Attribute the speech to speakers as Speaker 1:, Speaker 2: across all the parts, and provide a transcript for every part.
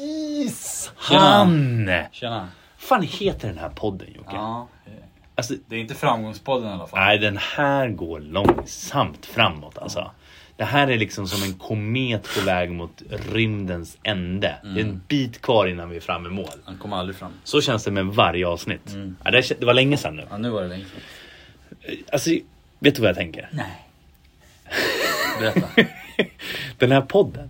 Speaker 1: Precis! Han!
Speaker 2: Tjena.
Speaker 1: fan heter den här podden Jocke?
Speaker 2: Ja.
Speaker 1: Alltså,
Speaker 2: Det är inte Framgångspodden i alla fall.
Speaker 1: nej den här går långsamt framåt alltså. Det här är liksom som en komet på väg mot rymdens ände. Det är en bit kvar innan vi är framme i mål.
Speaker 2: Han kommer aldrig fram.
Speaker 1: Så känns det med varje avsnitt. Ja, det, här kän- det var länge sedan nu.
Speaker 2: Ja, nu var det länge sedan.
Speaker 1: Alltså, vet du vad jag tänker?
Speaker 2: Nej. Berätta.
Speaker 1: Den här podden.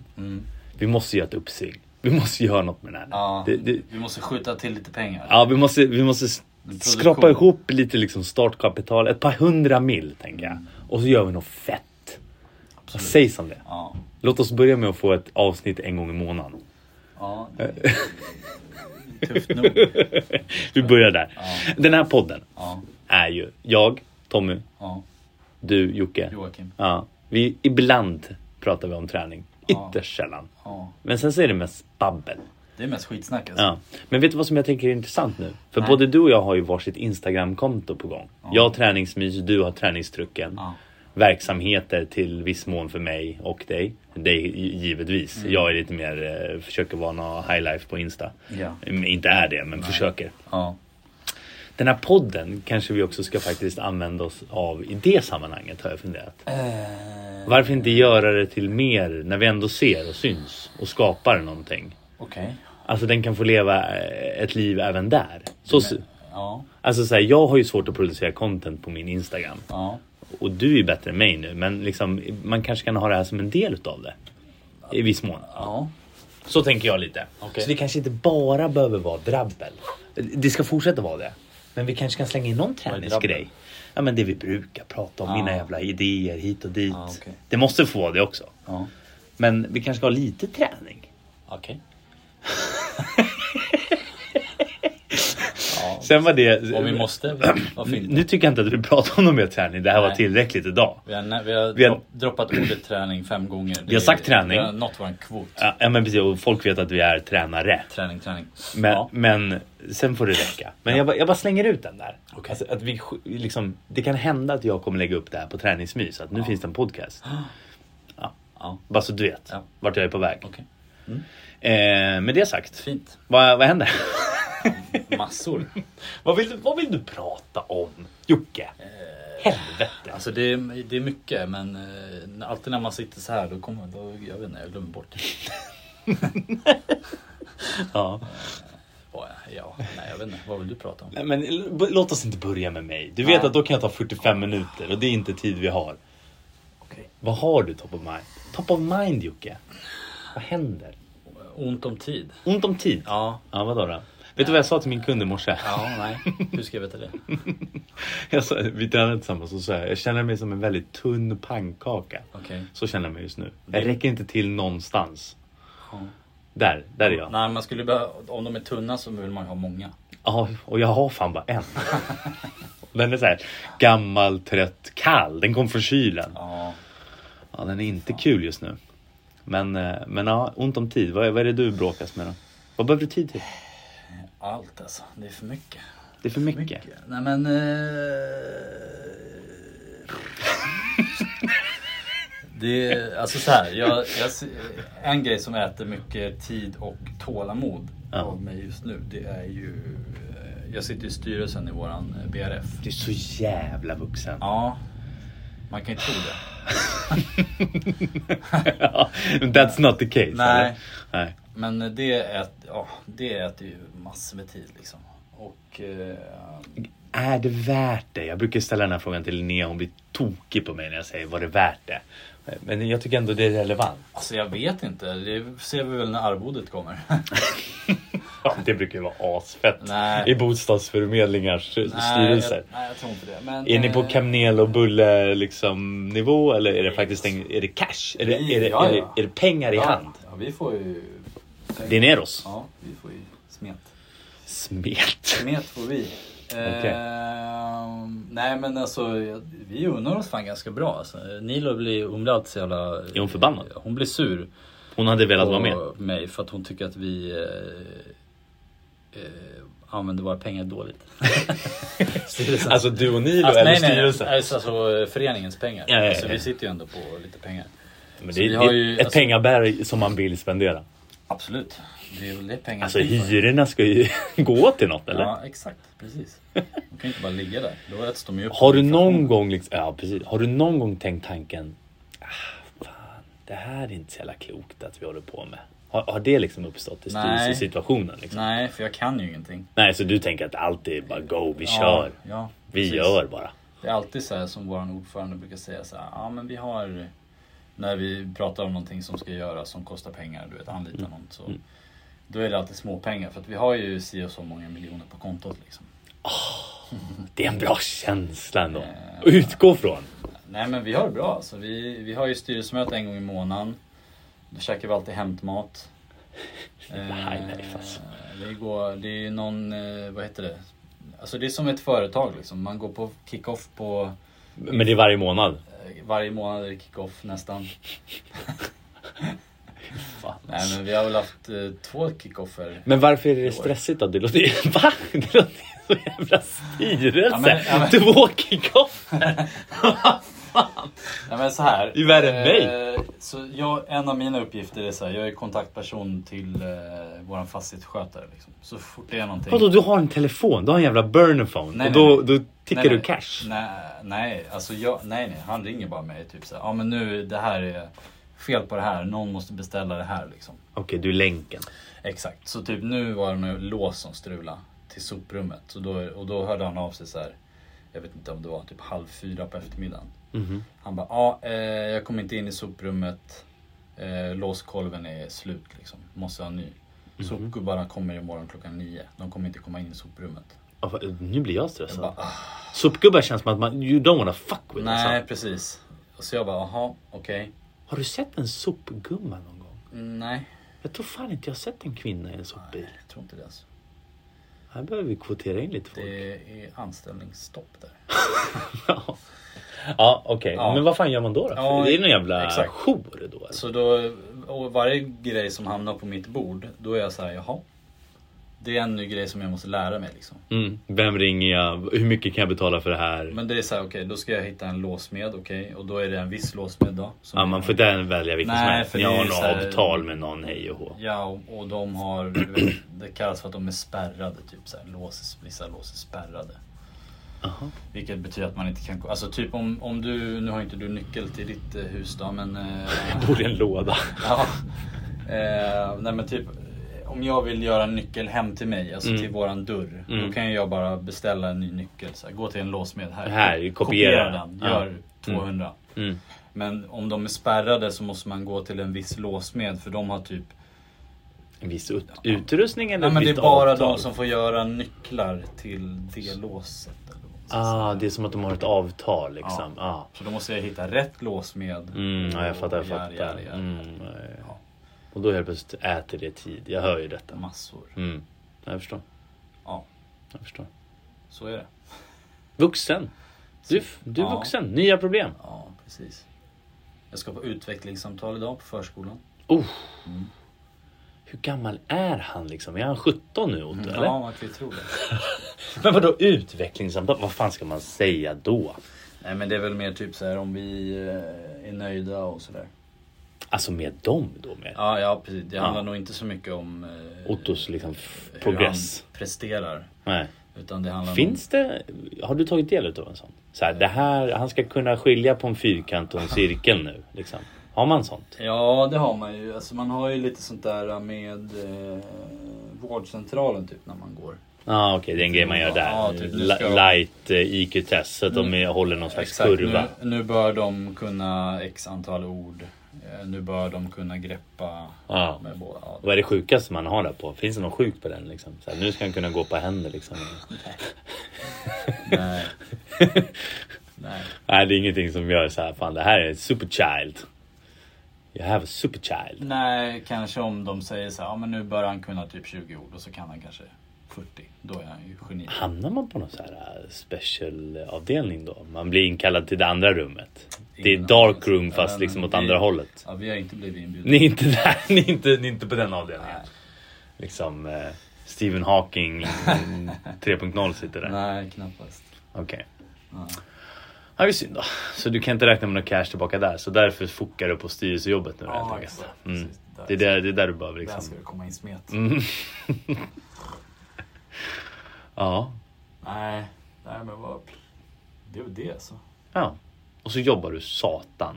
Speaker 1: Vi måste göra ett uppsving. Vi måste göra något med den här.
Speaker 2: Ja.
Speaker 1: Det, det,
Speaker 2: Vi måste skjuta till lite pengar.
Speaker 1: ja vi måste, vi måste s-
Speaker 2: Produktion.
Speaker 1: skrapa ihop lite liksom startkapital. Ett par hundra mil tänker jag. Och så gör vi något fett. Säg som det.
Speaker 2: Ja.
Speaker 1: Låt oss börja med att få ett avsnitt en gång i månaden.
Speaker 2: ja. det är Tufft nog.
Speaker 1: Vi börjar där. Den här podden
Speaker 2: Ja.
Speaker 1: är ju jag, Tommy,
Speaker 2: ja.
Speaker 1: du, Jocke.
Speaker 2: Joakim.
Speaker 1: Ja, vi, ibland pratar vi om träning. Ytterst sällan.
Speaker 2: Ja.
Speaker 1: Men sen så är det mest babbel.
Speaker 2: Det är mest skitsnack alltså.
Speaker 1: Ja. Men vet du vad som jag tänker är intressant nu? För både du och jag har ju varsitt Instagramkonto på gång. Jag har träningsmys, du har träningstrucken.
Speaker 2: Ja.
Speaker 1: Verksamheter till viss mån för mig och dig. Dig gi- givetvis.
Speaker 2: Mm.
Speaker 1: Jag är lite mer, eh, försöker vara någon highlife på Insta.
Speaker 2: Ja.
Speaker 1: Mm, Inte är det, men försöker.
Speaker 2: Ja.
Speaker 1: Den här podden kanske vi också ska faktiskt använda oss av i det sammanhanget har jag funderat.
Speaker 2: Eh,
Speaker 1: Varför inte göra det till mer när vi ändå ser och syns och skapar någonting?
Speaker 2: Okej.
Speaker 1: Alltså den kan få leva eh, ett liv även där. Så,
Speaker 2: Ja.
Speaker 1: alltså så här, jag har ju svårt att producera content på min Instagram.
Speaker 2: Ja.
Speaker 1: Och du är ju bättre än mig nu men liksom, man kanske kan ha det här som en del utav det. I viss mån.
Speaker 2: Ja.
Speaker 1: Så tänker jag lite.
Speaker 2: Okej.
Speaker 1: Så det kanske inte bara behöver vara drabbel. Det ska fortsätta vara det. Men vi kanske kan slänga in någon
Speaker 2: är
Speaker 1: träningsgrej.
Speaker 2: drabbel?
Speaker 1: Ja men det vi brukar prata om,
Speaker 2: Ah.
Speaker 1: mina jävla idéer hit och dit.
Speaker 2: Ah, okej.
Speaker 1: Det måste få vara det också.
Speaker 2: Ja.
Speaker 1: Men vi kanske ska ha lite träning.
Speaker 2: Okej.
Speaker 1: Sen var det...
Speaker 2: ja. Om vi måste, varför inte?
Speaker 1: Nu tycker jag inte att vi pratar om någon mer träning. Det här var
Speaker 2: Nej.
Speaker 1: tillräckligt idag.
Speaker 2: Vi har, nä- vi har,
Speaker 1: Vi har-
Speaker 2: dropp- droppat ordet träning fem gånger. Det
Speaker 1: har sagt träning.
Speaker 2: Vi har nått vår kvot.
Speaker 1: Ja, ja, men precis, och folk vet att vi är tränare.
Speaker 2: Träning, träning.
Speaker 1: Men,
Speaker 2: Ja.
Speaker 1: men sen får det räcka. Men jag, bara, jag bara slänger ut den där.
Speaker 2: Okej.
Speaker 1: Alltså, att vi, sk- liksom, det kan hända att jag kommer lägga upp det här på träningsmys. Att nu finns det en podcast.
Speaker 2: Ja.
Speaker 1: Bara så du vet
Speaker 2: Ja.
Speaker 1: vart jag är på väg.
Speaker 2: Okej.
Speaker 1: Eh, med det sagt,
Speaker 2: Fint.
Speaker 1: vad, vad händer?
Speaker 2: Massor.
Speaker 1: vad, vill du, vad vill du prata om Eh. Jocke? Helvete.
Speaker 2: Alltså det är, det är mycket men eh, när- alltid när man sitter så här då kommer då, jag vet inte, jag glömmer bort det.
Speaker 1: Ja.
Speaker 2: Vad jag- Ja, nej jag vet inte, vad vill du prata om?
Speaker 1: Nej, men, l- b- låt oss inte börja med mig. Du vet
Speaker 2: Nej.
Speaker 1: att då kan jag ta 45 minuter och det är inte tid vi har.
Speaker 2: Okej.
Speaker 1: Vad har du top of mind? Top of mind Jocke? Vad händer?
Speaker 2: Ont om tid.
Speaker 1: Ont om tid?
Speaker 2: Ja.
Speaker 1: Ja, vadå då? Vet du vad jag sa till min kund i morse?
Speaker 2: Ja, nej. Hur ska jag veta det?
Speaker 1: Jag sa, vi tränade tillsammans och så här, jag känner mig som en väldigt tunn pannkaka.
Speaker 2: Okej.
Speaker 1: Så känner jag mig just nu. Jag räcker inte till någonstans.
Speaker 2: Ja.
Speaker 1: Där, där är jag.
Speaker 2: Nej, man skulle behöva, om de är tunna så vill man ju ha många.
Speaker 1: Ja, och jag har fan bara en. Den är så här gammal, trött, kall. Den kom från kylen.
Speaker 2: Ja.
Speaker 1: Ja, den är inte kul just nu. Men, eh, men ja, ont om tid. Vad är, vad är det du bråkas med då? Vad behöver du tid till?
Speaker 2: Allt alltså, det är för mycket.
Speaker 1: Det är för mycket.
Speaker 2: Nej men... Eh... Det är, alltså så här, jag, jag, se- en grej som äter mycket tid och tålamod
Speaker 1: Ja.
Speaker 2: av mig just nu det är ju... eh, Jag sitter i styrelsen i våran eh, BRF.
Speaker 1: Du är så jävla vuxen.
Speaker 2: Ja, man kan ju tro det.
Speaker 1: Ja, That's not the case.
Speaker 2: Nej.
Speaker 1: eller? Nej.
Speaker 2: Men det äter, ja, det äter ju massor med tid liksom. Och... Eh,
Speaker 1: Är det värt det? Jag brukar ställa den här frågan till Linnea. Hon blir tokig på mig när jag säger var det värt det? Men jag tycker ändå det är relevant.
Speaker 2: alltså jag vet inte, det ser vi väl när arvodet kommer.
Speaker 1: Ja, det brukar ju vara asfett
Speaker 2: Nej.
Speaker 1: i bostadsförmedlingars styrelser.
Speaker 2: Nej, jag, nej, jag tror inte det. Men,
Speaker 1: Är ni på
Speaker 2: eh,
Speaker 1: kamnel och bulle liksom, nivå eller är det faktiskt en, är det cash? Är det, är det,
Speaker 2: Ja,
Speaker 1: är det,
Speaker 2: ja.
Speaker 1: är det pengar i
Speaker 2: ja,
Speaker 1: hand?
Speaker 2: Ja, vi får ju...
Speaker 1: Det är Neros.
Speaker 2: Ja, vi får ju smet.
Speaker 1: Smet.
Speaker 2: Smet får vi.
Speaker 1: Okej.
Speaker 2: Ehm, nej men alltså, jag- vi unnar oss fan ganska bra. Alltså, Nilo blir, hon blir alltid så jävla...
Speaker 1: Är hon förbannad?
Speaker 2: Hon blir sur
Speaker 1: Hon hade velat vara med.
Speaker 2: på mig för att hon tycker att vi eh, eh, använder våra pengar dåligt. Styrelsen.
Speaker 1: Alltså du och Nilo
Speaker 2: Alltså,
Speaker 1: eller
Speaker 2: nej, nej,
Speaker 1: styrelsen.
Speaker 2: alltså, alltså föreningens pengar.
Speaker 1: Ja, ja, ja,
Speaker 2: alltså,
Speaker 1: ja.
Speaker 2: vi sitter ju ändå på lite pengar.
Speaker 1: Men
Speaker 2: Så
Speaker 1: det,
Speaker 2: Alltså, vi
Speaker 1: det
Speaker 2: har
Speaker 1: är
Speaker 2: ju-
Speaker 1: ett
Speaker 2: alltså-
Speaker 1: pengaberg som man vill spendera.
Speaker 2: Absolut. Det är väl det pengar
Speaker 1: Alltså
Speaker 2: är till för.
Speaker 1: hyrorna ska ju gå till något eller?
Speaker 2: Ja, exakt. Precis. De kan ju inte bara ligga där. Då äts de ju upp.
Speaker 1: Har du någon
Speaker 2: Inflationen.
Speaker 1: gång liksom, ja, precis. Har du någon gång tänkt tanken ah, fan, det här är inte så jävla klokt att vi håller på med? Har, har det liksom uppstått i
Speaker 2: Nej.
Speaker 1: styrelsesituationen? Liksom? Nej.
Speaker 2: Nej, för jag kan ju ingenting.
Speaker 1: Nej, så du tänker att allt är bara go, vi kör.
Speaker 2: ja,
Speaker 1: Vi
Speaker 2: precis.
Speaker 1: gör bara.
Speaker 2: Det är alltid så här som vår ordförande brukar säga så här, ja men vi har när vi pratar om någonting som ska göras som kostar pengar, du vet anlita
Speaker 1: Mm.
Speaker 2: någon så då är det alltid småpengar för att vi har ju si och så många miljoner på kontot liksom.
Speaker 1: Det är en bra känsla ändå.
Speaker 2: Eh,
Speaker 1: Att utgå från.
Speaker 2: Nej men vi har det bra alltså. Vi, vi har ju styrelsemöte en gång i månaden. Då käkar vi alltid hämtmat.
Speaker 1: Highlife, alltså.
Speaker 2: Eh, det, går, det är ju någon, eh, vad heter det? Alltså det är som ett företag liksom. Man går på kick-off på
Speaker 1: Men det är varje månad.
Speaker 2: eh, varje månad är det kick-off nästan.
Speaker 1: Fan. alltså.
Speaker 2: Nej men vi har väl haft eh, två kick-offer.
Speaker 1: Men varför är det stressigt då? Det låter ju... Va? Det låter ju så jävla styrelse.
Speaker 2: Ja, men- ja, men-
Speaker 1: Två kick-off.
Speaker 2: Nej men så här.
Speaker 1: Det är värre än
Speaker 2: Eh, Så jag, en av mina uppgifter är så här, jag är kontaktperson till eh, våran fastighetsskötare. Liksom. Så fort det är någonting.
Speaker 1: Vadå, du har en telefon? Du har en jävla burner phone.
Speaker 2: Nej,
Speaker 1: och då,
Speaker 2: nej, nej.
Speaker 1: då tickar
Speaker 2: Nej,
Speaker 1: du
Speaker 2: nej.
Speaker 1: cash.
Speaker 2: Nej, nej, alltså jag, nej, nej, han ringer bara mig typ så här, ja men nu det här är fel på det här, någon måste beställa det här liksom.
Speaker 1: Okej, du är länken.
Speaker 2: Exakt, så typ nu var det något lås som strulade till soprummet så då, och då hörde han av sig så här, jag vet inte om det var typ halv fyra på eftermiddagen.
Speaker 1: Mhm.
Speaker 2: Han bara, ja eh, jag kom inte in i soprummet, eh, låskolven är slut liksom, måste ha en ny.
Speaker 1: Mhm.
Speaker 2: Sopgubbarna kommer imorgon klockan nio, de kommer inte komma in i soprummet.
Speaker 1: Ja, fan, Nu blir jag
Speaker 2: Jag
Speaker 1: stressad.
Speaker 2: bara, ah.
Speaker 1: Sopgubbar känns som att man, you don't wanna fuck with
Speaker 2: Nej
Speaker 1: alltså.
Speaker 2: precis. Så jag bara, jaha okej.
Speaker 1: Har du sett en sopgumma någon gång?
Speaker 2: Mm, Nej,
Speaker 1: Jag tror fan inte jag har sett en kvinna i en sopbil.
Speaker 2: jag tror inte det alltså.
Speaker 1: Här behöver vi kvotera in lite folk.
Speaker 2: Det är anställningsstopp där.
Speaker 1: Ja, ja okej.
Speaker 2: Ja.
Speaker 1: Men vad fan gör man då? då?
Speaker 2: Ja,
Speaker 1: det är någon jävla
Speaker 2: exakt.
Speaker 1: jour då. Alltså.
Speaker 2: Så då, och varje grej som hamnar på mitt bord, då är jag så här, jaha. Det är en ny grej som jag måste lära mig liksom.
Speaker 1: Mm. Vem ringer jag? Hur mycket kan jag betala för det här?
Speaker 2: Men det är så här, okej, då ska jag hitta en låsmed, okej. Och då är det en viss låsmed då. som
Speaker 1: ja,
Speaker 2: är-
Speaker 1: man får inte välja vilken
Speaker 2: Nej,
Speaker 1: som helst.
Speaker 2: för
Speaker 1: Jag
Speaker 2: det är
Speaker 1: har
Speaker 2: ju
Speaker 1: något
Speaker 2: så här-
Speaker 1: avtal med någon, hej och hå.
Speaker 2: Ja, och, och de har, du vet, det kallas för att de är spärrade typ så här, lås, vissa lås är spärrade.
Speaker 1: Jaha.
Speaker 2: Vilket betyder att man inte kan, gå- alltså typ om, om du, nu har inte du nyckel till ditt eh, hus då men... eh,
Speaker 1: Jag bor i en låda.
Speaker 2: Ja. Eh, nej men typ om jag vill göra en nyckel hem till mig, alltså
Speaker 1: Mm.
Speaker 2: till våran dörr.
Speaker 1: Mm.
Speaker 2: Då kan jag bara beställa en ny nyckel. Så här, gå till en låsmed här.
Speaker 1: Här, kopiera.
Speaker 2: den.
Speaker 1: Ja.
Speaker 2: Gör 200.
Speaker 1: Mm.
Speaker 2: Men om de är spärrade så måste man gå till en viss låsmed för de har typ...
Speaker 1: En viss ut- utrustning eller
Speaker 2: Nej men
Speaker 1: ett
Speaker 2: det är
Speaker 1: visst
Speaker 2: bara
Speaker 1: avtal?
Speaker 2: de som får göra nycklar till det låset. Eller vad man ska säga.
Speaker 1: Ah, det är som att de har ett avtal liksom. Ja, ah.
Speaker 2: Så då måste jag hitta rätt låsmed.
Speaker 1: mm, ja jag
Speaker 2: Och
Speaker 1: fattar. Jag
Speaker 2: gär, gär,
Speaker 1: fattar.
Speaker 2: gär.
Speaker 1: Mm, ja, ja, ja.
Speaker 2: Ja.
Speaker 1: Och då helt plötsligt äter det tid. Jag hör ju detta.
Speaker 2: Massor.
Speaker 1: Mm. Jag förstår.
Speaker 2: Ja,
Speaker 1: Jag förstår.
Speaker 2: så är det.
Speaker 1: Vuxen. Du, du är
Speaker 2: Ja.
Speaker 1: vuxen. Nya problem.
Speaker 2: Ja, precis. Jag ska på utvecklingssamtal idag på förskolan.
Speaker 1: Oh.
Speaker 2: Mm.
Speaker 1: Hur gammal är han liksom? Är han 17 nu Otto Mm, eller?
Speaker 2: Mm. Ja, man kan ju tro det.
Speaker 1: Men vadå utvecklingssamtal? Vad fan ska man säga då?
Speaker 2: Nej men det är väl mer typ så här om vi eh, är nöjda och sådär.
Speaker 1: Alltså med dem då med?
Speaker 2: Ja, ja precis. Det
Speaker 1: Ja.
Speaker 2: handlar nog inte så mycket om eh,
Speaker 1: Ottos liksom f-
Speaker 2: hur
Speaker 1: progress?
Speaker 2: han presterar.
Speaker 1: Nej.
Speaker 2: Utan det handlar
Speaker 1: Finns det? Har du tagit del av en sån? Så här, det här, han ska kunna skilja på en fyrkant och en cirkel nu. Liksom. Har man sånt?
Speaker 2: om... Ja, det har man ju. Alltså man har ju lite sånt där med eh, vårdcentralen typ när man går.
Speaker 1: Ja ah, okej, det är en grej man gör där.
Speaker 2: Ja, typ, nu ska- Mm.
Speaker 1: Li- Light eh, IQ-test så att de är- håller någon slags kurva.
Speaker 2: nu, nu bör de kunna x antal ord. Eh, Nu bör de kunna greppa
Speaker 1: Ja.
Speaker 2: med båda. Ja,
Speaker 1: Vad är det sjukaste man har där på? Finns det något sjukt på den? Liksom? Så här, nu ska han kunna gå på händer liksom.
Speaker 2: Nej. Nej.
Speaker 1: Nej, det är ingenting som gör så här. Fan, det här är ett superchild. You have a superchild.
Speaker 2: Nej, kanske om de säger så här, ja men nu bör han kunna typ 20 ord och så kan han kanske 40. Då är han ju geni.
Speaker 1: Hamnar man på någon så här eh, specialavdelning då? Man blir inkallad till det andra rummet. Det är
Speaker 2: Ingen
Speaker 1: dark
Speaker 2: aning.
Speaker 1: room
Speaker 2: Ja,
Speaker 1: fast
Speaker 2: men
Speaker 1: liksom åt
Speaker 2: vi-
Speaker 1: andra hållet.
Speaker 2: Ja, vi har inte blivit inbjudna.
Speaker 1: Ni är inte där, ni är inte, ni är inte på den avdelningen.
Speaker 2: Nej.
Speaker 1: Liksom eh, Stephen Hawking mm, 3.0 sitter där.
Speaker 2: Nej, knappast.
Speaker 1: Okej.
Speaker 2: Ja.
Speaker 1: Ja, det är synd då. Så du kan inte räkna med någon cash tillbaka där. Så därför fokar du på styrelsejobbet nu
Speaker 2: Ja,
Speaker 1: helt enkelt.
Speaker 2: exakt.
Speaker 1: Mm.
Speaker 2: Precis.
Speaker 1: Det är där, det är där du behöver
Speaker 2: Där
Speaker 1: liksom...
Speaker 2: ska det komma in smet.
Speaker 1: Mm. ja.
Speaker 2: Nej, nej men vad... Det är väl det alltså.
Speaker 1: ja. Och så jobbar du satan.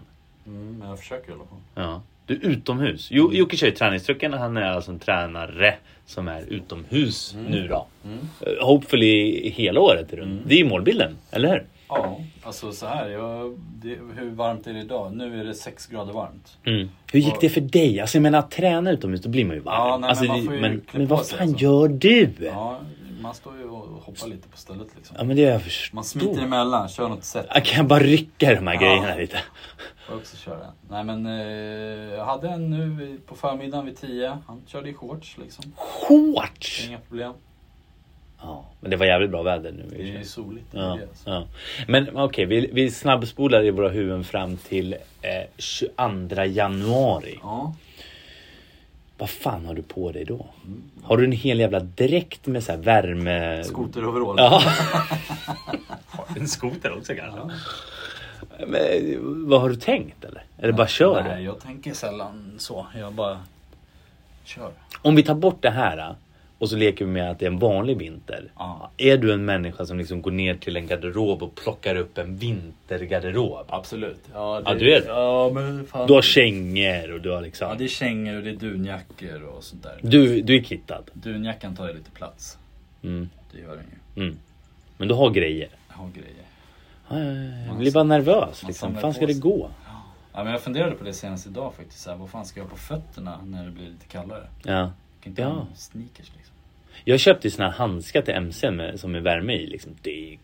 Speaker 2: Mm, men jag försöker i alla fall.
Speaker 1: Ja. Du är utomhus. Jo,
Speaker 2: Mm.
Speaker 1: Jocke kör ju träningstrucken. Han är alltså en tränare som är utomhus
Speaker 2: Mm.
Speaker 1: nu då. Eh, Hopefully hela året är du. Det är ju målbilden, eller hur?
Speaker 2: Ja, alltså så här. Jag, det, hur varmt är det idag? Nu är det 6 grader varmt.
Speaker 1: Hur gick det för dig? Alltså jag menar att träna utomhus då blir man ju varm.
Speaker 2: Ja, nej,
Speaker 1: alltså,
Speaker 2: men man
Speaker 1: det-
Speaker 2: får ju
Speaker 1: men,
Speaker 2: klä
Speaker 1: men
Speaker 2: på
Speaker 1: vad
Speaker 2: sig
Speaker 1: fan
Speaker 2: alltså.
Speaker 1: gör du? Ja.
Speaker 2: Ja, man står ju och hoppar lite på stället liksom.
Speaker 1: men det har jag förstår.
Speaker 2: Man smiter emellan, kör något sätt.
Speaker 1: Jag kan bara rycka i de här
Speaker 2: Ja.
Speaker 1: grejerna lite.
Speaker 2: Får jag också köra. Nej men eh, jag hade en nu i- på förmiddagen vid 10. Han körde i shorts liksom.
Speaker 1: Shorts!
Speaker 2: Inga problem.
Speaker 1: Ja, men det var jävligt bra väder nu. i och för
Speaker 2: Det är
Speaker 1: sig.
Speaker 2: ju soligt. det är
Speaker 1: Ja,
Speaker 2: det, alltså.
Speaker 1: ja. Men okej, vi, vi snabbspolar i våra huvuden fram till eh, 22 januari.
Speaker 2: ja.
Speaker 1: Vad fan har du på dig då? Har du en hel jävla dräkt med så här värme...
Speaker 2: Skoteroverall.
Speaker 1: Ja. en skoter också kanske? Men, vad har du tänkt eller? Eller bara kör
Speaker 2: Nej,
Speaker 1: du?
Speaker 2: jag tänker sällan så. Jag bara kör.
Speaker 1: Om vi tar bort det här eh, och så leker vi med att det är en vanlig vinter.
Speaker 2: Ja.
Speaker 1: Är du en människa som liksom går ner till en garderob och plockar upp en vintergarderob?
Speaker 2: Absolut. Ja,
Speaker 1: Ja, du är det.
Speaker 2: Ja, men fan.
Speaker 1: Du har kängor och du har liksom...
Speaker 2: Ja, det är kängor och det är dunjackor och sånt där.
Speaker 1: Du, du är kittad.
Speaker 2: Dunjackan tar ju lite plats.
Speaker 1: Mm.
Speaker 2: Det gör den ju.
Speaker 1: Mm. Men du har grejer.
Speaker 2: Jag har grejer.
Speaker 1: Ja, ja, ja. Jag blir bara nervös.
Speaker 2: man
Speaker 1: Liksom.
Speaker 2: samlar
Speaker 1: fan
Speaker 2: på
Speaker 1: ska det
Speaker 2: sig.
Speaker 1: gå?
Speaker 2: Ja, men jag funderade på det senast idag faktiskt. Så här, vad fan ska jag ha på fötterna när det blir lite kallare?
Speaker 1: Ja.
Speaker 2: Jag kan inte
Speaker 1: Ja.
Speaker 2: ha några sneakers liksom.
Speaker 1: Jag köpte ju såna här handskar till MC med, som är värme i. Liksom. Det är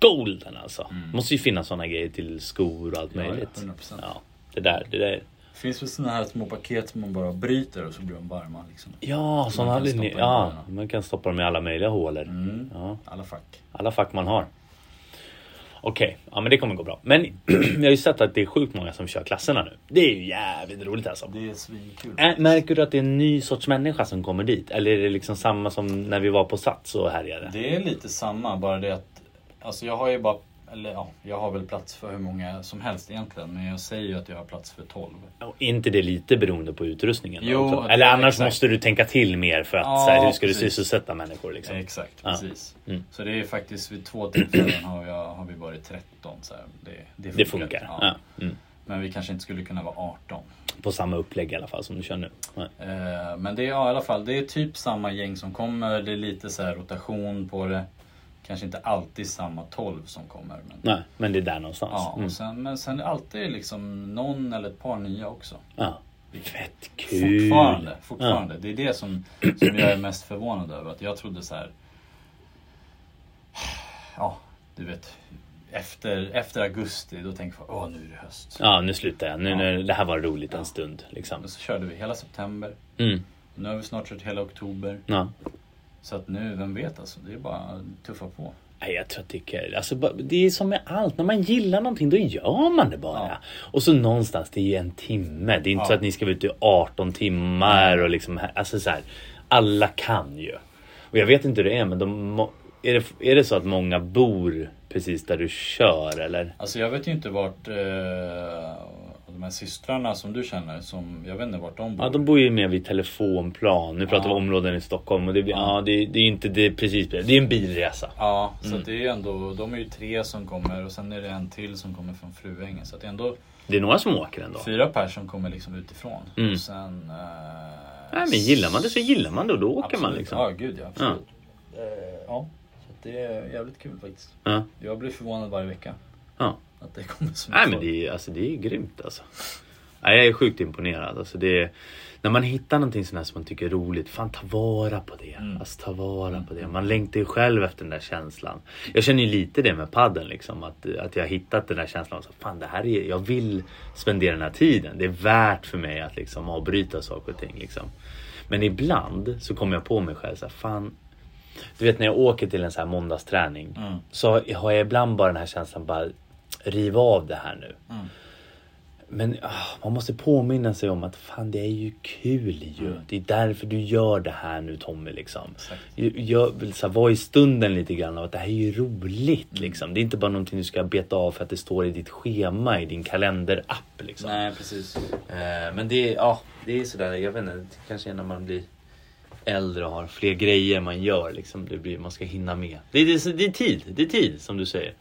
Speaker 1: golden alltså. Måste ju finnas såna grejer till skor och allt
Speaker 2: Mm. Ja, ja,
Speaker 1: möjligt.
Speaker 2: 100%.
Speaker 1: Ja, det där, det där.
Speaker 2: Det finns väl såna här små paket som man bara bryter och så blir de varma liksom.
Speaker 1: Ja, såna
Speaker 2: kan
Speaker 1: hade
Speaker 2: stoppa
Speaker 1: ni.
Speaker 2: i
Speaker 1: Ja,
Speaker 2: händerna.
Speaker 1: man kan stoppa dem i alla möjliga hålor.
Speaker 2: Mm.
Speaker 1: Ja,
Speaker 2: Alla fack.
Speaker 1: alla fack man har. Okej, ja men det kommer gå bra. Men jag har ju sett att det är sjukt många som kör klasserna nu. Det är ju jävligt roligt alltså.
Speaker 2: Det är svinkul.
Speaker 1: Ä- Märker du att det är en ny sorts människa som kommer dit? Eller är det liksom samma som när vi var på Sats och härjade?
Speaker 2: Det är lite samma, bara det att alltså jag har ju bara, eller ja, jag har väl plats för hur många som helst egentligen. Men jag säger ju att jag har plats för 12.
Speaker 1: Och Är inte det lite beroende på utrustningen? då
Speaker 2: Jo,
Speaker 1: också?
Speaker 2: det-
Speaker 1: Eller annars
Speaker 2: exakt.
Speaker 1: måste du tänka till mer för att
Speaker 2: Ja,
Speaker 1: så här, hur ska du
Speaker 2: precis.
Speaker 1: sysselsätta människor? Liksom?
Speaker 2: Exakt,
Speaker 1: Ja.
Speaker 2: precis.
Speaker 1: Mm.
Speaker 2: Så det är ju faktiskt vid två tillfällen har, jag, har vi varit 13. Så här. Det, det
Speaker 1: Det funkar.
Speaker 2: Ja.
Speaker 1: Ja. Mm.
Speaker 2: Men vi kanske inte skulle kunna vara 18.
Speaker 1: På samma upplägg i alla fall som du kör nu. Ja.
Speaker 2: Eh, Men det är ja, i alla fall, det är typ samma gäng som kommer. Det är lite så här rotation på det. Kanske inte alltid samma 12 som kommer. Men,
Speaker 1: Nej, men det är där någonstans.
Speaker 2: ja,
Speaker 1: Mm.
Speaker 2: och sen, men sen är det alltid liksom någon eller ett par nya också.
Speaker 1: Ja. Fett kul!
Speaker 2: Fortfarande. fortfarande. Det är det som, som jag är mest förvånad över. Att jag trodde så här. Ja, du vet. Efter, efter augusti, då tänker jag åh nu är det höst.
Speaker 1: Ja, nu slutar jag. Nu,
Speaker 2: Ja.
Speaker 1: nu, det här var roligt en stund. Liksom.
Speaker 2: Och så körde vi hela september.
Speaker 1: Mm.
Speaker 2: Nu har vi snart kört hela oktober.
Speaker 1: Ja.
Speaker 2: Så att nu, vem vet alltså. Det är bara att tuffa på.
Speaker 1: Nej, jag tror att det är kul. Alltså, bara- det är som med allt. När man gillar någonting då gör man det bara.
Speaker 2: Ja.
Speaker 1: Och så någonstans, det är ju en timme. Det är inte
Speaker 2: Ja.
Speaker 1: så att ni ska vara ute i 18 timmar och liksom här- alltså så här. Alla kan ju. Och jag vet inte hur det är men de, må- är, det, är det så att många bor precis där du kör eller?
Speaker 2: Alltså jag vet ju inte vart eh, de här systrarna som du känner, som, jag vet inte vart de bor.
Speaker 1: Ja, de bor ju mer vid telefonplan. Nu pratar vi områden i Stockholm och det, blir- ja, det, det är inte det är precis det. Det är en bilresa.
Speaker 2: Ja,
Speaker 1: Mm.
Speaker 2: så att det är ju ändå, de är ju tre som kommer och sen är det en till som kommer från Fruängen. Så att det är ändå
Speaker 1: Det är några som åker ändå.
Speaker 2: fyra personer som kommer liksom utifrån.
Speaker 1: Mm.
Speaker 2: Och sen... eh,
Speaker 1: Nej, men gillar man det så gillar man det och då åker
Speaker 2: absolut.
Speaker 1: man liksom.
Speaker 2: Ja, gud ja. Absolut. Eh, ja, så att det är jävligt kul faktiskt.
Speaker 1: Ja.
Speaker 2: Jag blir förvånad varje vecka
Speaker 1: Ja.
Speaker 2: att det kommer så
Speaker 1: Nej men det är, alltså, det är grymt alltså. Nej, jag är sjukt imponerad. Alltså, det är, när man hittar någonting sånt här som man tycker är roligt, fan ta vara på det. Alltså, ta vara på det. Man längtar ju själv efter den där känslan. Jag känner ju lite det med padden liksom. Att, att jag har hittat den där känslan. av Så, fan, det här är, jag vill spendera den här tiden. Det är värt för mig att liksom, avbryta saker och ting. Liksom. Men ibland så kommer jag på mig själv så här, fan du vet när jag åker till en sån här måndagsträning
Speaker 2: Mm. Mm.
Speaker 1: så har jag ibland bara den här känslan bara riva av det här nu. Men ah, man måste påminna sig om att fan det är ju kul ju. Det är därför du gör det här nu Tommy liksom.
Speaker 2: Mm. Exakt.
Speaker 1: Jag, jag vill så här, vara i stunden lite grann av att det här är ju roligt
Speaker 2: Mm.
Speaker 1: liksom. Det är inte bara någonting du ska beta av för att det står i ditt schema i din kalenderapp liksom.
Speaker 2: Nej, precis.
Speaker 1: Eh, men det är, ja, det är sådär, jag vet inte, det kanske är när man blir äldre och har fler grejer man gör liksom. Det blir, man ska hinna med. Det är, det, är, så- det är tid, det är tid som du säger.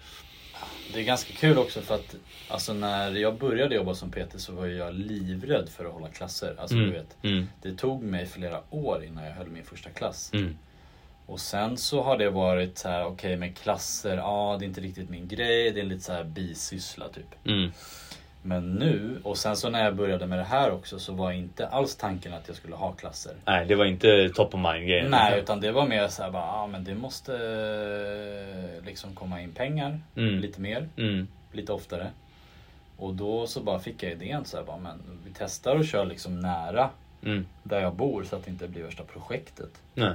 Speaker 2: Det är ganska kul också för att alltså, när jag började jobba som PT så var ju jag livrädd för att hålla klasser. Alltså,
Speaker 1: Mm.
Speaker 2: du vet,
Speaker 1: Mm.
Speaker 2: det tog mig flera år innan jag höll min första klass.
Speaker 1: Mm.
Speaker 2: Och sen så har det varit så här, okej med klasser, ja det är inte riktigt min grej, det är lite så här bisyssla typ.
Speaker 1: Mm.
Speaker 2: Men nu, och sen så när jag började med det här också så var inte alls tanken att jag skulle ha klasser.
Speaker 1: Nej, det var inte top of mind grejen. liksom.
Speaker 2: Nej, utan det var mer så här bara, ja men det måste eh, liksom komma in pengar,
Speaker 1: Mm.
Speaker 2: lite mer,
Speaker 1: Mm.
Speaker 2: lite oftare. Och då så bara fick jag idén så här bara, men vi testar och kör liksom nära
Speaker 1: Mm.
Speaker 2: där jag bor så att det inte blir värsta projektet.
Speaker 1: Nej.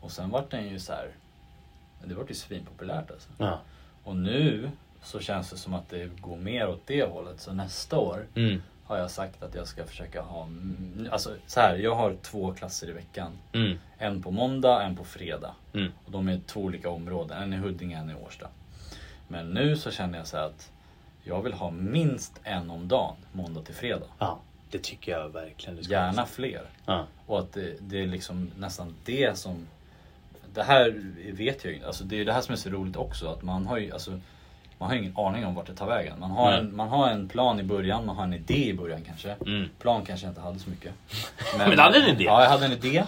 Speaker 2: Och sen vart den ju så här, det vart ju svinpopulärt alltså.
Speaker 1: Ja.
Speaker 2: Och nu så känns det som att det går mer åt det hållet. Så nästa år
Speaker 1: Mm.
Speaker 2: har jag sagt att jag ska försöka ha... mm, Alltså så här, jag har två klasser i veckan.
Speaker 1: Mm.
Speaker 2: En på måndag, en på fredag.
Speaker 1: Mm.
Speaker 2: Och de är två olika områden. En i Huddinge, en i Årsta. Men nu så känner jag så här att jag vill ha minst en om dagen, måndag till fredag.
Speaker 1: Ja, det tycker jag verkligen du ska
Speaker 2: Gärna fler.
Speaker 1: Ja.
Speaker 2: Och att det, det är liksom nästan det som... Det här vet jag ju inte. Alltså det är ju det här som är så roligt också. Att man har ju alltså, man har ju ingen aning om vart det tar vägen. Man har,
Speaker 1: Nej.
Speaker 2: en, man har en plan i början, man har en idé i början kanske.
Speaker 1: Mm.
Speaker 2: Plan kanske jag inte hade så mycket.
Speaker 1: Men hade en idé?
Speaker 2: Ja, jag hade en idé.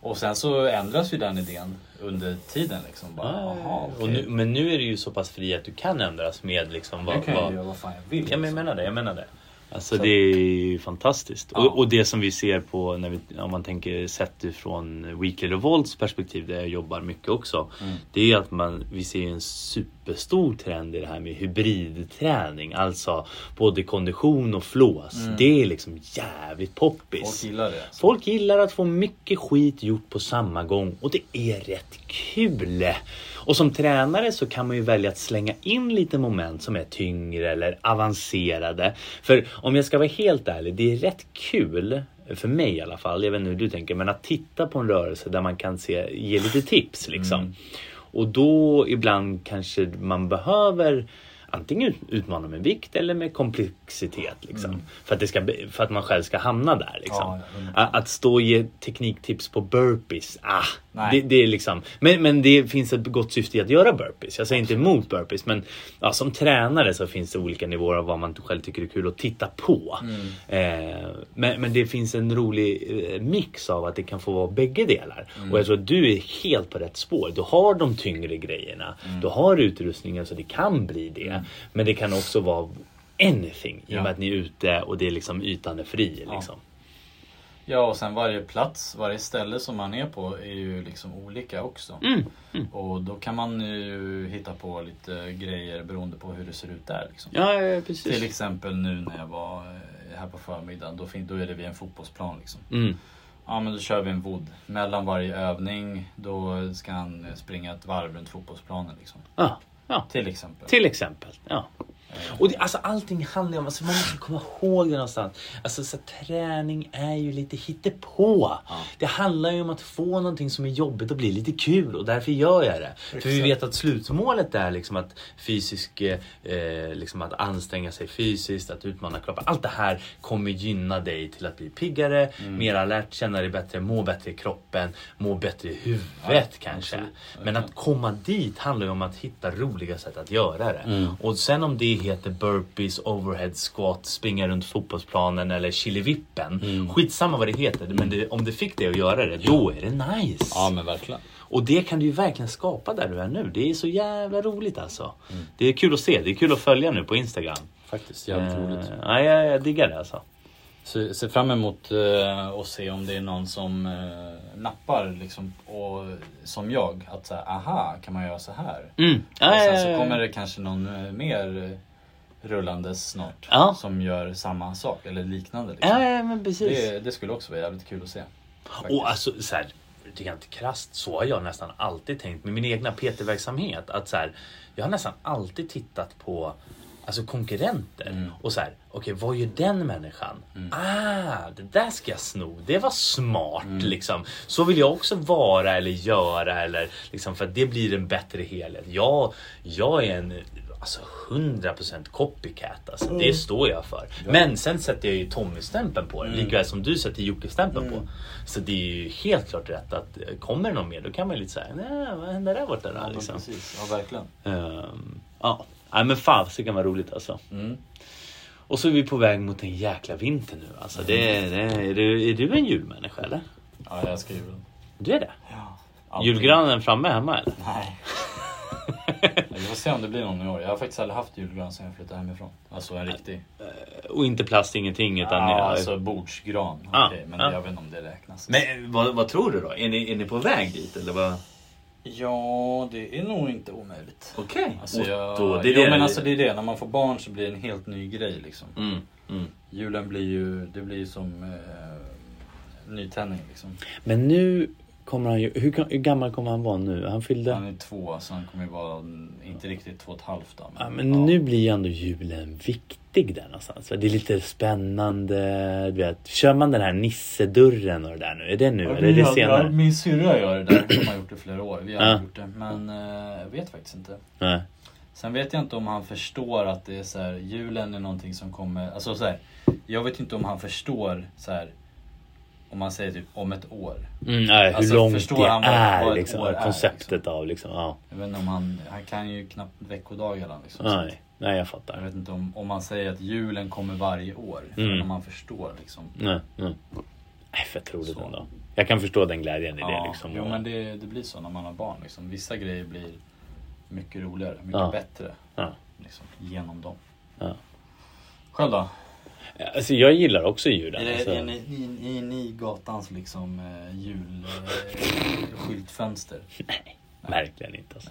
Speaker 2: Och sen så ändras ju den idén under tiden liksom. Bara, aha,
Speaker 1: och nu, men nu är det ju så pass fri att du kan ändras med liksom vad...
Speaker 2: nu kan jag
Speaker 1: vad
Speaker 2: ju göra vad fan jag vill.
Speaker 1: Ja, men jag
Speaker 2: liksom.
Speaker 1: menar det. Jag menar det. Alltså det är ju fantastiskt.
Speaker 2: Ja.
Speaker 1: Och, och det som vi ser på, när vi, om man tänker sett ifrån Weekly Revolts perspektiv, där jag jobbar mycket också. Det är ju att man, vi ser ju en superstor trend i det här med hybridträning. Alltså både kondition och flås. Det är liksom jävligt poppis.
Speaker 2: Folk gillar det. Alltså.
Speaker 1: Folk gillar att få mycket skit gjort på samma gång och det är rätt kul. Och som tränare så kan man ju välja att slänga in lite moment som är tyngre eller avancerade. För om jag ska vara helt ärlig, det är rätt kul för mig i alla fall, jag vet inte hur du tänker, men att titta på en rörelse där man kan se, ge lite tips liksom.
Speaker 2: Mm.
Speaker 1: Och då ibland kanske man behöver antingen ut- utmana med vikt eller med komplexitet. Liksom. För, att det ska, bli- för att man själv ska hamna där. Liksom.
Speaker 2: Mm. Ja, ja, hundra
Speaker 1: A- att stå och ge tekniktips på burpees, ah,
Speaker 2: Nej.
Speaker 1: det, det är liksom, men, men det finns ett gott syfte i att göra burpees. Jag säger inte emot burpees men ja, som tränare så finns det olika nivåer av vad man själv tycker är kul att titta på.
Speaker 2: Mm.
Speaker 1: Eh, men, men det finns en rolig eh, mix av att det kan få vara bägge delar.
Speaker 2: Mm.
Speaker 1: Och jag tror att du är helt på rätt spår. Du har de tyngre grejerna,
Speaker 2: Mm.
Speaker 1: du har utrustningen så det kan bli det. Men det kan också vara anything i och
Speaker 2: Ja.
Speaker 1: med att ni är ute och det är liksom ytan är fri. Liksom.
Speaker 2: Ja, och sen varje plats, varje ställe som man är på är ju liksom olika också.
Speaker 1: Mm,
Speaker 2: Och då kan man ju hitta på lite grejer beroende på hur det ser ut där. Liksom.
Speaker 1: Ja, ja, ja, precis.
Speaker 2: Till exempel nu när jag var eh, här på förmiddagen, då, fin- då är det vid en fotbollsplan. Liksom.
Speaker 1: Mm.
Speaker 2: Ja, men då kör vi en vod. Mellan varje övning, då ska han eh, springa ett varv runt fotbollsplanen. Liksom.
Speaker 1: Ja, ja.
Speaker 2: Till exempel.
Speaker 1: Till exempel. Ja. Och det, alltså, allting handlar ju om, alltså, man måste komma ihåg det någonstans. Alltså, så här, träning är ju lite hittepå. Det handlar ju om att få någonting som är jobbigt och bli lite kul och därför gör jag det. För vi vet att slutmålet är liksom att fysisk, eh, eh, liksom att anstränga sig fysiskt, att utmana kroppen. Allt det här kommer gynna dig till att bli piggare, mer alert, känna dig bättre, må bättre i kroppen, må bättre i huvudet kanske. Men att komma dit handlar ju om att hitta roliga sätt att göra det. Och sen om det heter burpees, overhead squat, springa runt fotbollsplanen eller chilivippen.
Speaker 2: Mm.
Speaker 1: Skitsamma vad det heter, men det, om det fick dig att göra det, då är det nice.
Speaker 2: Ja, men verkligen.
Speaker 1: Och det kan du ju verkligen skapa där du är nu. Det är så jävla roligt alltså.
Speaker 2: Mm.
Speaker 1: Det är kul att se, det är kul att följa nu på Instagram.
Speaker 2: Faktiskt, jävligt roligt.
Speaker 1: Eh, ja, jag, jag diggar det alltså.
Speaker 2: Så se fram emot eh, och se om det är någon som eh, nappar liksom, och, som jag. Att säga, aha, kan man göra så här?
Speaker 1: Mm. Ja,
Speaker 2: och
Speaker 1: ja,
Speaker 2: sen
Speaker 1: ja,
Speaker 2: så
Speaker 1: ja.
Speaker 2: kommer det kanske någon eh, mer eh, rullandes snart
Speaker 1: Ja.
Speaker 2: som gör samma sak eller liknande. Liksom.
Speaker 1: Ja, ja, men precis.
Speaker 2: det, det skulle också vara jävligt kul att se. faktiskt.
Speaker 1: Och alltså så här, det är inte krasst, så har jag nästan alltid tänkt med min egna PT-verksamhet. Att så här, jag har nästan alltid tittat på alltså konkurrenter.
Speaker 2: Mm.
Speaker 1: Och så här, okej vad gör den människan? Ah, det där ska jag sno. Det var smart
Speaker 2: Mm.
Speaker 1: liksom. Så vill jag också vara eller göra eller liksom för att det blir en bättre helhet. Jag, jag är en alltså 100% copycat alltså. Det står jag för. Men sen sätter jag ju Tommy-stämpeln på det. Likaväl som du sätter Jocke-stämpeln på. Så det är ju helt klart rätt att eh, kommer det någon mer då kan man ju lite såhär, nej vad hände där borta då?
Speaker 2: Ja,
Speaker 1: Liksom.
Speaker 2: precis. Ja, verkligen.
Speaker 1: Ehm, Ja, Nej, men fasiken vad roligt alltså.
Speaker 2: Mm.
Speaker 1: Och så är vi på väg mot en jäkla vinter nu alltså. Det, är- det, är- är, du, är du en julmänniska eller?
Speaker 2: Ja, jag älskar julen.
Speaker 1: Du är det?
Speaker 2: Ja. Allting.
Speaker 1: Julgranen framme hemma eller?
Speaker 2: Nej. Vi får se om det blir någon i år. Jag har faktiskt aldrig haft julgran sedan jag flyttade hemifrån. Alltså en riktig.
Speaker 1: Och inte plast, ingenting utan...
Speaker 2: ja,
Speaker 1: Ja,
Speaker 2: alltså bordsgran.
Speaker 1: Ah,
Speaker 2: Okej, men
Speaker 1: ah.
Speaker 2: jag vet inte om det räknas.
Speaker 1: Men vad, vad tror du då? Är ni, är ni på väg dit eller vad?
Speaker 2: Ja, det är nog inte omöjligt.
Speaker 1: Okej.
Speaker 2: Alltså
Speaker 1: Och
Speaker 2: jag...
Speaker 1: då- det är
Speaker 2: jo,
Speaker 1: det-
Speaker 2: men alltså det är det. När man får barn så blir det en helt ny grej liksom.
Speaker 1: Mm, mm.
Speaker 2: Julen blir ju, det blir ju som eh, nytändning liksom.
Speaker 1: Men nu kommer han ju... Hur, ga- hur gammal kommer han vara nu? Han fyllde...
Speaker 2: Han är två, så han kommer ju vara, mm, inte riktigt två och ett halvt då.
Speaker 1: Ja, men nu blir ju ändå julen viktig där någonstans. va? Det är lite spännande. Du vet, kör man den här nissedörren och det där nu? Är det nu
Speaker 2: Ja,
Speaker 1: eller är
Speaker 2: vi
Speaker 1: det
Speaker 2: hade-
Speaker 1: senare?
Speaker 2: Min syrra gör det där. Hon har gjort det i flera år. Vi har
Speaker 1: Ja.
Speaker 2: aldrig gjort det. Men eh, jag vet faktiskt inte.
Speaker 1: Nej.
Speaker 2: Sen vet jag inte om han förstår att det är så här, julen är någonting som kommer... Alltså så här, jag vet inte om han förstår så här, om man säger typ om ett år.
Speaker 1: Mm, nej, hur
Speaker 2: Alltså,
Speaker 1: långt
Speaker 2: förstår
Speaker 1: det
Speaker 2: han vad-
Speaker 1: är
Speaker 2: vad ett
Speaker 1: liksom.
Speaker 2: år
Speaker 1: Vad
Speaker 2: är,
Speaker 1: konceptet av liksom. Ja.
Speaker 2: Jag vet inte om han... Han kan ju knappt veckodagarna liksom. Så att
Speaker 1: Nej. nej, jag
Speaker 2: Jag
Speaker 1: fattar.
Speaker 2: vet inte om, om man säger att julen kommer varje år.
Speaker 1: Mm.
Speaker 2: Om man förstår liksom.
Speaker 1: Nej, nej. nej för jag tror det
Speaker 2: Så.
Speaker 1: ändå. Jag kan förstå den glädjen i det liksom.
Speaker 2: jo,
Speaker 1: och-
Speaker 2: men det, det blir så när man har barn. Liksom. Vissa grejer blir mycket roligare, mycket
Speaker 1: Ja.
Speaker 2: bättre
Speaker 1: Ja.
Speaker 2: liksom, genom dem.
Speaker 1: Ja.
Speaker 2: Själv då?
Speaker 1: Alltså, jag gillar också
Speaker 2: Är,
Speaker 1: julen.
Speaker 2: det,
Speaker 1: Alltså.
Speaker 2: är, ni, är, är ni gatans liksom, eh, julskyltfönster?
Speaker 1: Verkligen inte. Alltså.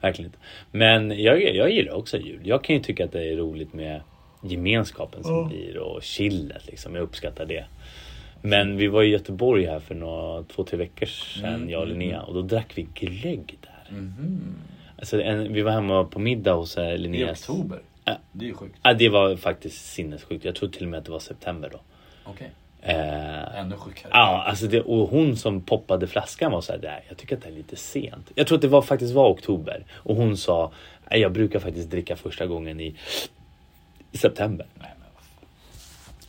Speaker 1: Verkligen inte. Men jag, jag gillar också jul. Jag kan ju tycka att det är roligt med gemenskapen som blir och chillet. Liksom. Jag uppskattar det. Men vi var i Göteborg här för några, två, tre veckor sedan,
Speaker 2: Mm,
Speaker 1: jag och
Speaker 2: mm,
Speaker 1: Linnea. Och då drack vi glögg där.
Speaker 2: Mhm.
Speaker 1: Alltså, en, vi var hemma på middag hos eh,
Speaker 2: I
Speaker 1: Linneas.
Speaker 2: oktober?
Speaker 1: Ja.
Speaker 2: Det är ju sjukt.
Speaker 1: Ja, det var faktiskt sinnessjukt. Jag tror till och med att det var september då.
Speaker 2: Okej,
Speaker 1: Eh,
Speaker 2: ännu sjukare.
Speaker 1: Ja, alltså det, och hon som poppade flaskan var så här, "Nej, jag tycker att det är lite sent. Jag tror att det var, faktiskt var oktober och hon sa, "Nej, jag brukar faktiskt dricka första gången i september.
Speaker 2: Nej, men vad fan,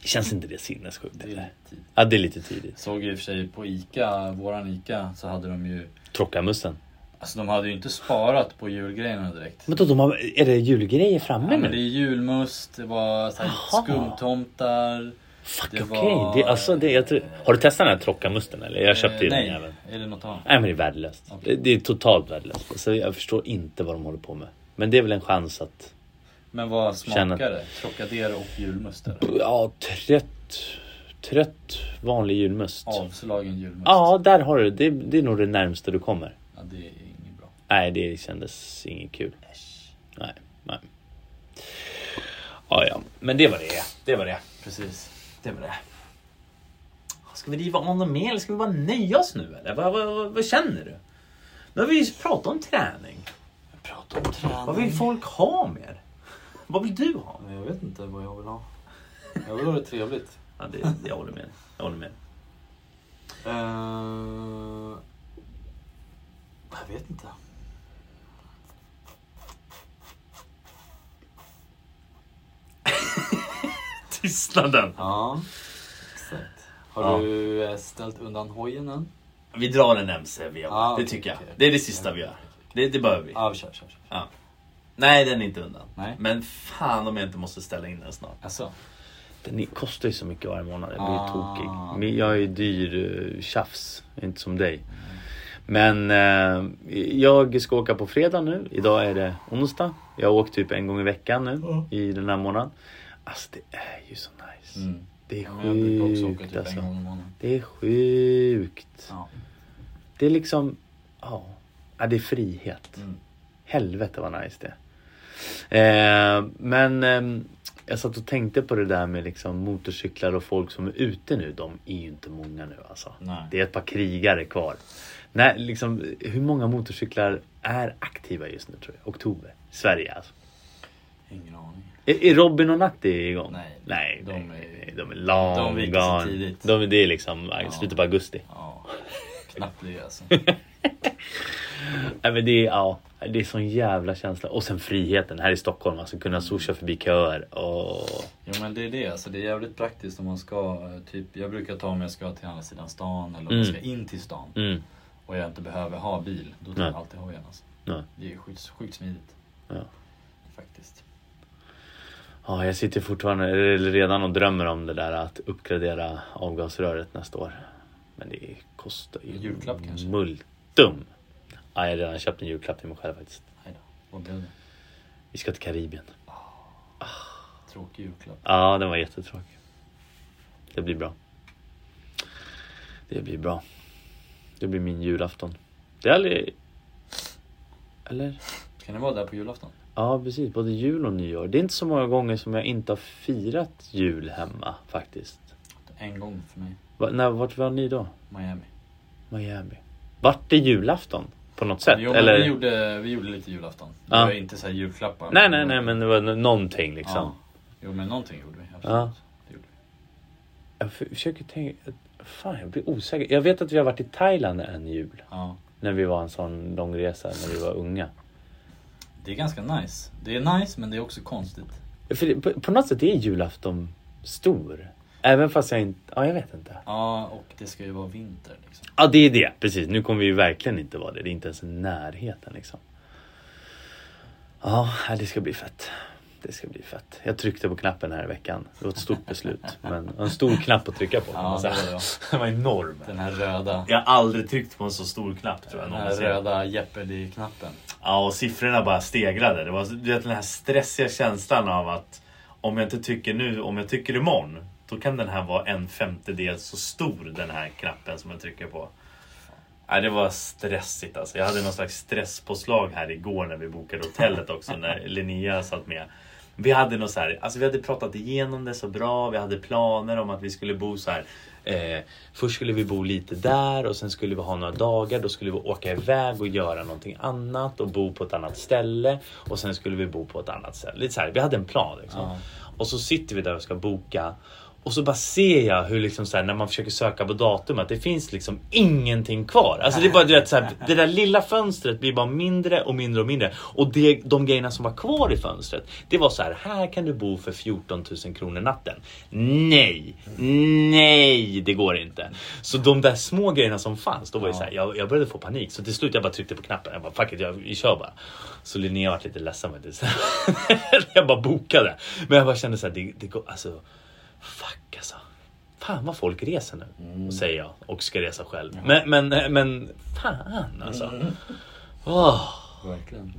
Speaker 1: Känns inte det sinnessjukt?
Speaker 2: det är ju
Speaker 1: Eller?
Speaker 2: lite tidigt.
Speaker 1: Ja, det är lite tidigt.
Speaker 2: Såg i och för sig på ICA, våran ICA, så hade de ju...
Speaker 1: Trockamussen.
Speaker 2: Alltså de hade ju inte sparat på julgrejerna direkt.
Speaker 1: Men då, de har, är det julgrejer framme
Speaker 2: Ja,
Speaker 1: nu?
Speaker 2: men det är julmust, det var så här
Speaker 1: Jaha.
Speaker 2: skumtomtar.
Speaker 1: Fuck
Speaker 2: det
Speaker 1: okej.
Speaker 2: var-
Speaker 1: Det, alltså, det, jag tror, har du testat den här trockamusten eller? Jag köpte ju
Speaker 2: Eh,
Speaker 1: den
Speaker 2: Nej,
Speaker 1: även.
Speaker 2: är det något annat?
Speaker 1: Nej men det är värdelöst.
Speaker 2: Okej.
Speaker 1: Det, det är totalt värdelöst. Alltså, jag förstår inte vad de håller på med. Men det är väl en chans att
Speaker 2: Men vad
Speaker 1: Känner-
Speaker 2: smakar det? Trocadero och julmust eller?
Speaker 1: Ja, trött, trött vanlig julmust. Ja,
Speaker 2: Avslagen julmust?
Speaker 1: där har du det. Det är nog det närmaste du kommer.
Speaker 2: Ja, det är inget bra.
Speaker 1: Nej, det kändes inget kul. Nej, nej. Ja, ja, men det var det. Det var det.
Speaker 2: Precis.
Speaker 1: Det var det. Ska vi riva om något mer eller ska vi bara nöja oss nu eller? Vad, vad, vad, vad känner du? Nu har vi ju pratat om träning.
Speaker 2: Prata om träning.
Speaker 1: Vad vill folk ha mer? Vad vill du ha?
Speaker 2: Jag vet inte vad jag vill ha. Jag vill ha det trevligt.
Speaker 1: Ja, det, jag håller med. Jag håller med.
Speaker 2: Eh, Jag vet inte.
Speaker 1: Tystnaden.
Speaker 2: Ja, exakt. Har
Speaker 1: Ja.
Speaker 2: du eh, ställt undan hojen än?
Speaker 1: Vi drar en MC vi
Speaker 2: Ja,
Speaker 1: det
Speaker 2: okej,
Speaker 1: tycker jag.
Speaker 2: okej.
Speaker 1: Det är det sista vi gör. Det, det behöver vi.
Speaker 2: Ja, vi kör, kör, kör.
Speaker 1: Ja. Nej, den är inte undan.
Speaker 2: Nej.
Speaker 1: Men fan om jag inte måste ställa in den snart.
Speaker 2: Alltså,
Speaker 1: Den kostar ju så mycket varje månad. Jag blir ju
Speaker 2: Ah.
Speaker 1: tokig. Men Jag är ju dyr eh, tjafs. Jag är Inte som dig. Men eh, jag ska åka på fredag nu. Idag är det onsdag. Jag har åkt typ en gång i veckan nu
Speaker 2: Ja.
Speaker 1: i den här månaden. Alltså det är ju så nice.
Speaker 2: Mm.
Speaker 1: Det är
Speaker 2: men jag brukar också åka
Speaker 1: sjukt
Speaker 2: typ en
Speaker 1: alltså.
Speaker 2: gång i månaden.
Speaker 1: Det är sjukt.
Speaker 2: Ja.
Speaker 1: Det är liksom, ja. ja det är frihet.
Speaker 2: Mm.
Speaker 1: Helvete vad nice det är. eh, Men ehm, jag satt och tänkte på det där med liksom motorcyklar och folk som är ute nu. De är ju inte många nu alltså.
Speaker 2: Nej.
Speaker 1: Det är ett par krigare kvar. Nej, liksom, hur många motorcyklar är aktiva just nu tror jag? Oktober? Sverige alltså.
Speaker 2: Ingen aning.
Speaker 1: Är, är Robin och Natti igång?
Speaker 2: Nej.
Speaker 1: nej
Speaker 2: De
Speaker 1: de,
Speaker 2: är-
Speaker 1: är, de är
Speaker 2: de
Speaker 1: long
Speaker 2: viker sig
Speaker 1: gone.
Speaker 2: tidigt.
Speaker 1: De, det är liksom ja. slutet på augusti.
Speaker 2: Ja, knappt det alltså.
Speaker 1: Nej, men det, är, ja, det är sån jävla känsla. Och sen friheten här i Stockholm. Alltså kunna swisha förbi köer. Och...
Speaker 2: Jo men det är det, alltså, det är jävligt praktiskt om man ska, eh, typ, jag brukar ta om jag ska till andra sidan stan eller om jag
Speaker 1: Mm.
Speaker 2: ska in till stan
Speaker 1: Mm.
Speaker 2: och jag inte behöver ha bil, då tar jag
Speaker 1: Nej.
Speaker 2: alltid hojen alltså.
Speaker 1: Nej.
Speaker 2: Det är sjukt, sjukt smidigt
Speaker 1: Ja.
Speaker 2: faktiskt.
Speaker 1: Ja, jag sitter fortfarande, eller redan och drömmer om det där att uppgradera avgasröret nästa år. Men det kostar ju
Speaker 2: En julklapp kanske?
Speaker 1: multum. Ja, jag har redan köpt en julklapp till mig själv faktiskt.
Speaker 2: Nej då, vad blev det?
Speaker 1: Vi ska till Karibien.
Speaker 2: Tråkig julklapp.
Speaker 1: Ja, den var jättetråkig. Det blir bra. Det blir bra. Det blir min julafton. Det är aldrig... Eller?
Speaker 2: Kan det vara där på julafton?
Speaker 1: Ja, precis. Både jul och nyår. Det är inte så många gånger som jag inte har firat jul hemma faktiskt.
Speaker 2: En gång för mig,
Speaker 1: Va, när, vart var ni då?
Speaker 2: Miami.
Speaker 1: Miami. Vart det julafton? På något sätt?
Speaker 2: Jo, men
Speaker 1: Eller?
Speaker 2: vi, gjorde, vi gjorde lite julafton. Det
Speaker 1: Ja.
Speaker 2: var inte så här julklappar.
Speaker 1: Nej, nej, nej, men det var n- någonting liksom.
Speaker 2: Ja. Jo men någonting gjorde vi, absolut.
Speaker 1: Ja.
Speaker 2: Det gjorde vi.
Speaker 1: Jag för- försöker tänka. Fan, jag blir osäker. Jag vet att vi har varit i Thailand en jul.
Speaker 2: Ja.
Speaker 1: När vi var en sån lång resa när vi var unga.
Speaker 2: Det är ganska nice. Det är nice men det är också konstigt.
Speaker 1: För det, på, på något sätt är julafton stor. Även fast jag inte... Ja, jag vet inte.
Speaker 2: Ja, och det ska ju vara vinter liksom.
Speaker 1: Ja, det är det. Precis. Nu kommer vi ju verkligen inte vara det. Det är inte ens i närheten liksom. Ja, nej, det ska bli fett. Det ska bli fett. Jag tryckte på knappen här i veckan. Det var ett stort beslut. Men en stor knapp att trycka på. kan
Speaker 2: Ja,
Speaker 1: man
Speaker 2: det
Speaker 1: säga.
Speaker 2: var jag.
Speaker 1: Den var enorm.
Speaker 2: Den här röda,
Speaker 1: Jag har aldrig tryckt på en så stor knapp tror jag
Speaker 2: den här
Speaker 1: någonsin.
Speaker 2: röda Jeopardy-knappen.
Speaker 1: Ja, och siffrorna bara stegrade. Det var du vet, den här stressiga känslan av att om jag inte tycker nu, om jag tycker imorgon, då kan den här vara en femtedel så stor, den här knappen som jag trycker på. Nej, det var stressigt alltså. Jag hade någon slags stresspåslag här igår när vi bokade hotellet också, när Linnea satt med. Vi hade något så här, alltså vi hade pratat igenom det så bra, vi hade planer om att vi skulle bo så här. Eh, först skulle vi bo lite där och sen skulle vi ha några dagar, då skulle vi åka iväg och göra någonting annat och bo på ett annat ställe och sen skulle vi bo på ett annat ställe. Lite så här, vi hade en plan liksom.
Speaker 2: Ja.
Speaker 1: Och så sitter vi där och ska boka och så bara ser jag hur liksom så här, när man försöker söka på datum att det finns liksom ingenting kvar. Alltså det är bara du vet, så här, det där lilla fönstret blir bara mindre och mindre och mindre. Och det, de grejerna som var kvar i fönstret, det var så här, här kan du bo för 14 000 kronor natten. Nej, nej det går inte. Så de där små grejerna som fanns, då var det
Speaker 2: Ja.
Speaker 1: så här, jag, jag började få panik. Så till slut jag bara tryckte på knappen, jag bara fuck it, jag, vi kör bara. Så Linnea vart lite ledsen faktiskt. jag bara bokade. Men jag bara kände så här, det, det går, alltså fuck alltså. Fan vad folk reser nu. Säger jag och ska resa själv. Men, men, men fan alltså. Åh.
Speaker 2: Verkligen.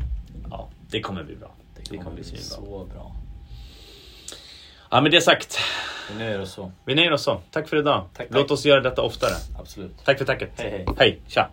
Speaker 1: Ja, det kommer bli bra. Det kommer bli svinbra.
Speaker 2: så bra.
Speaker 1: Ja men det sagt.
Speaker 2: Men nu är det så.
Speaker 1: Vi nöjer oss så. Tack för idag.
Speaker 2: Tack,
Speaker 1: Låt
Speaker 2: tack.
Speaker 1: oss göra detta oftare.
Speaker 2: Absolut.
Speaker 1: Tack för tacket.
Speaker 2: Hej, hej.
Speaker 1: hej tja.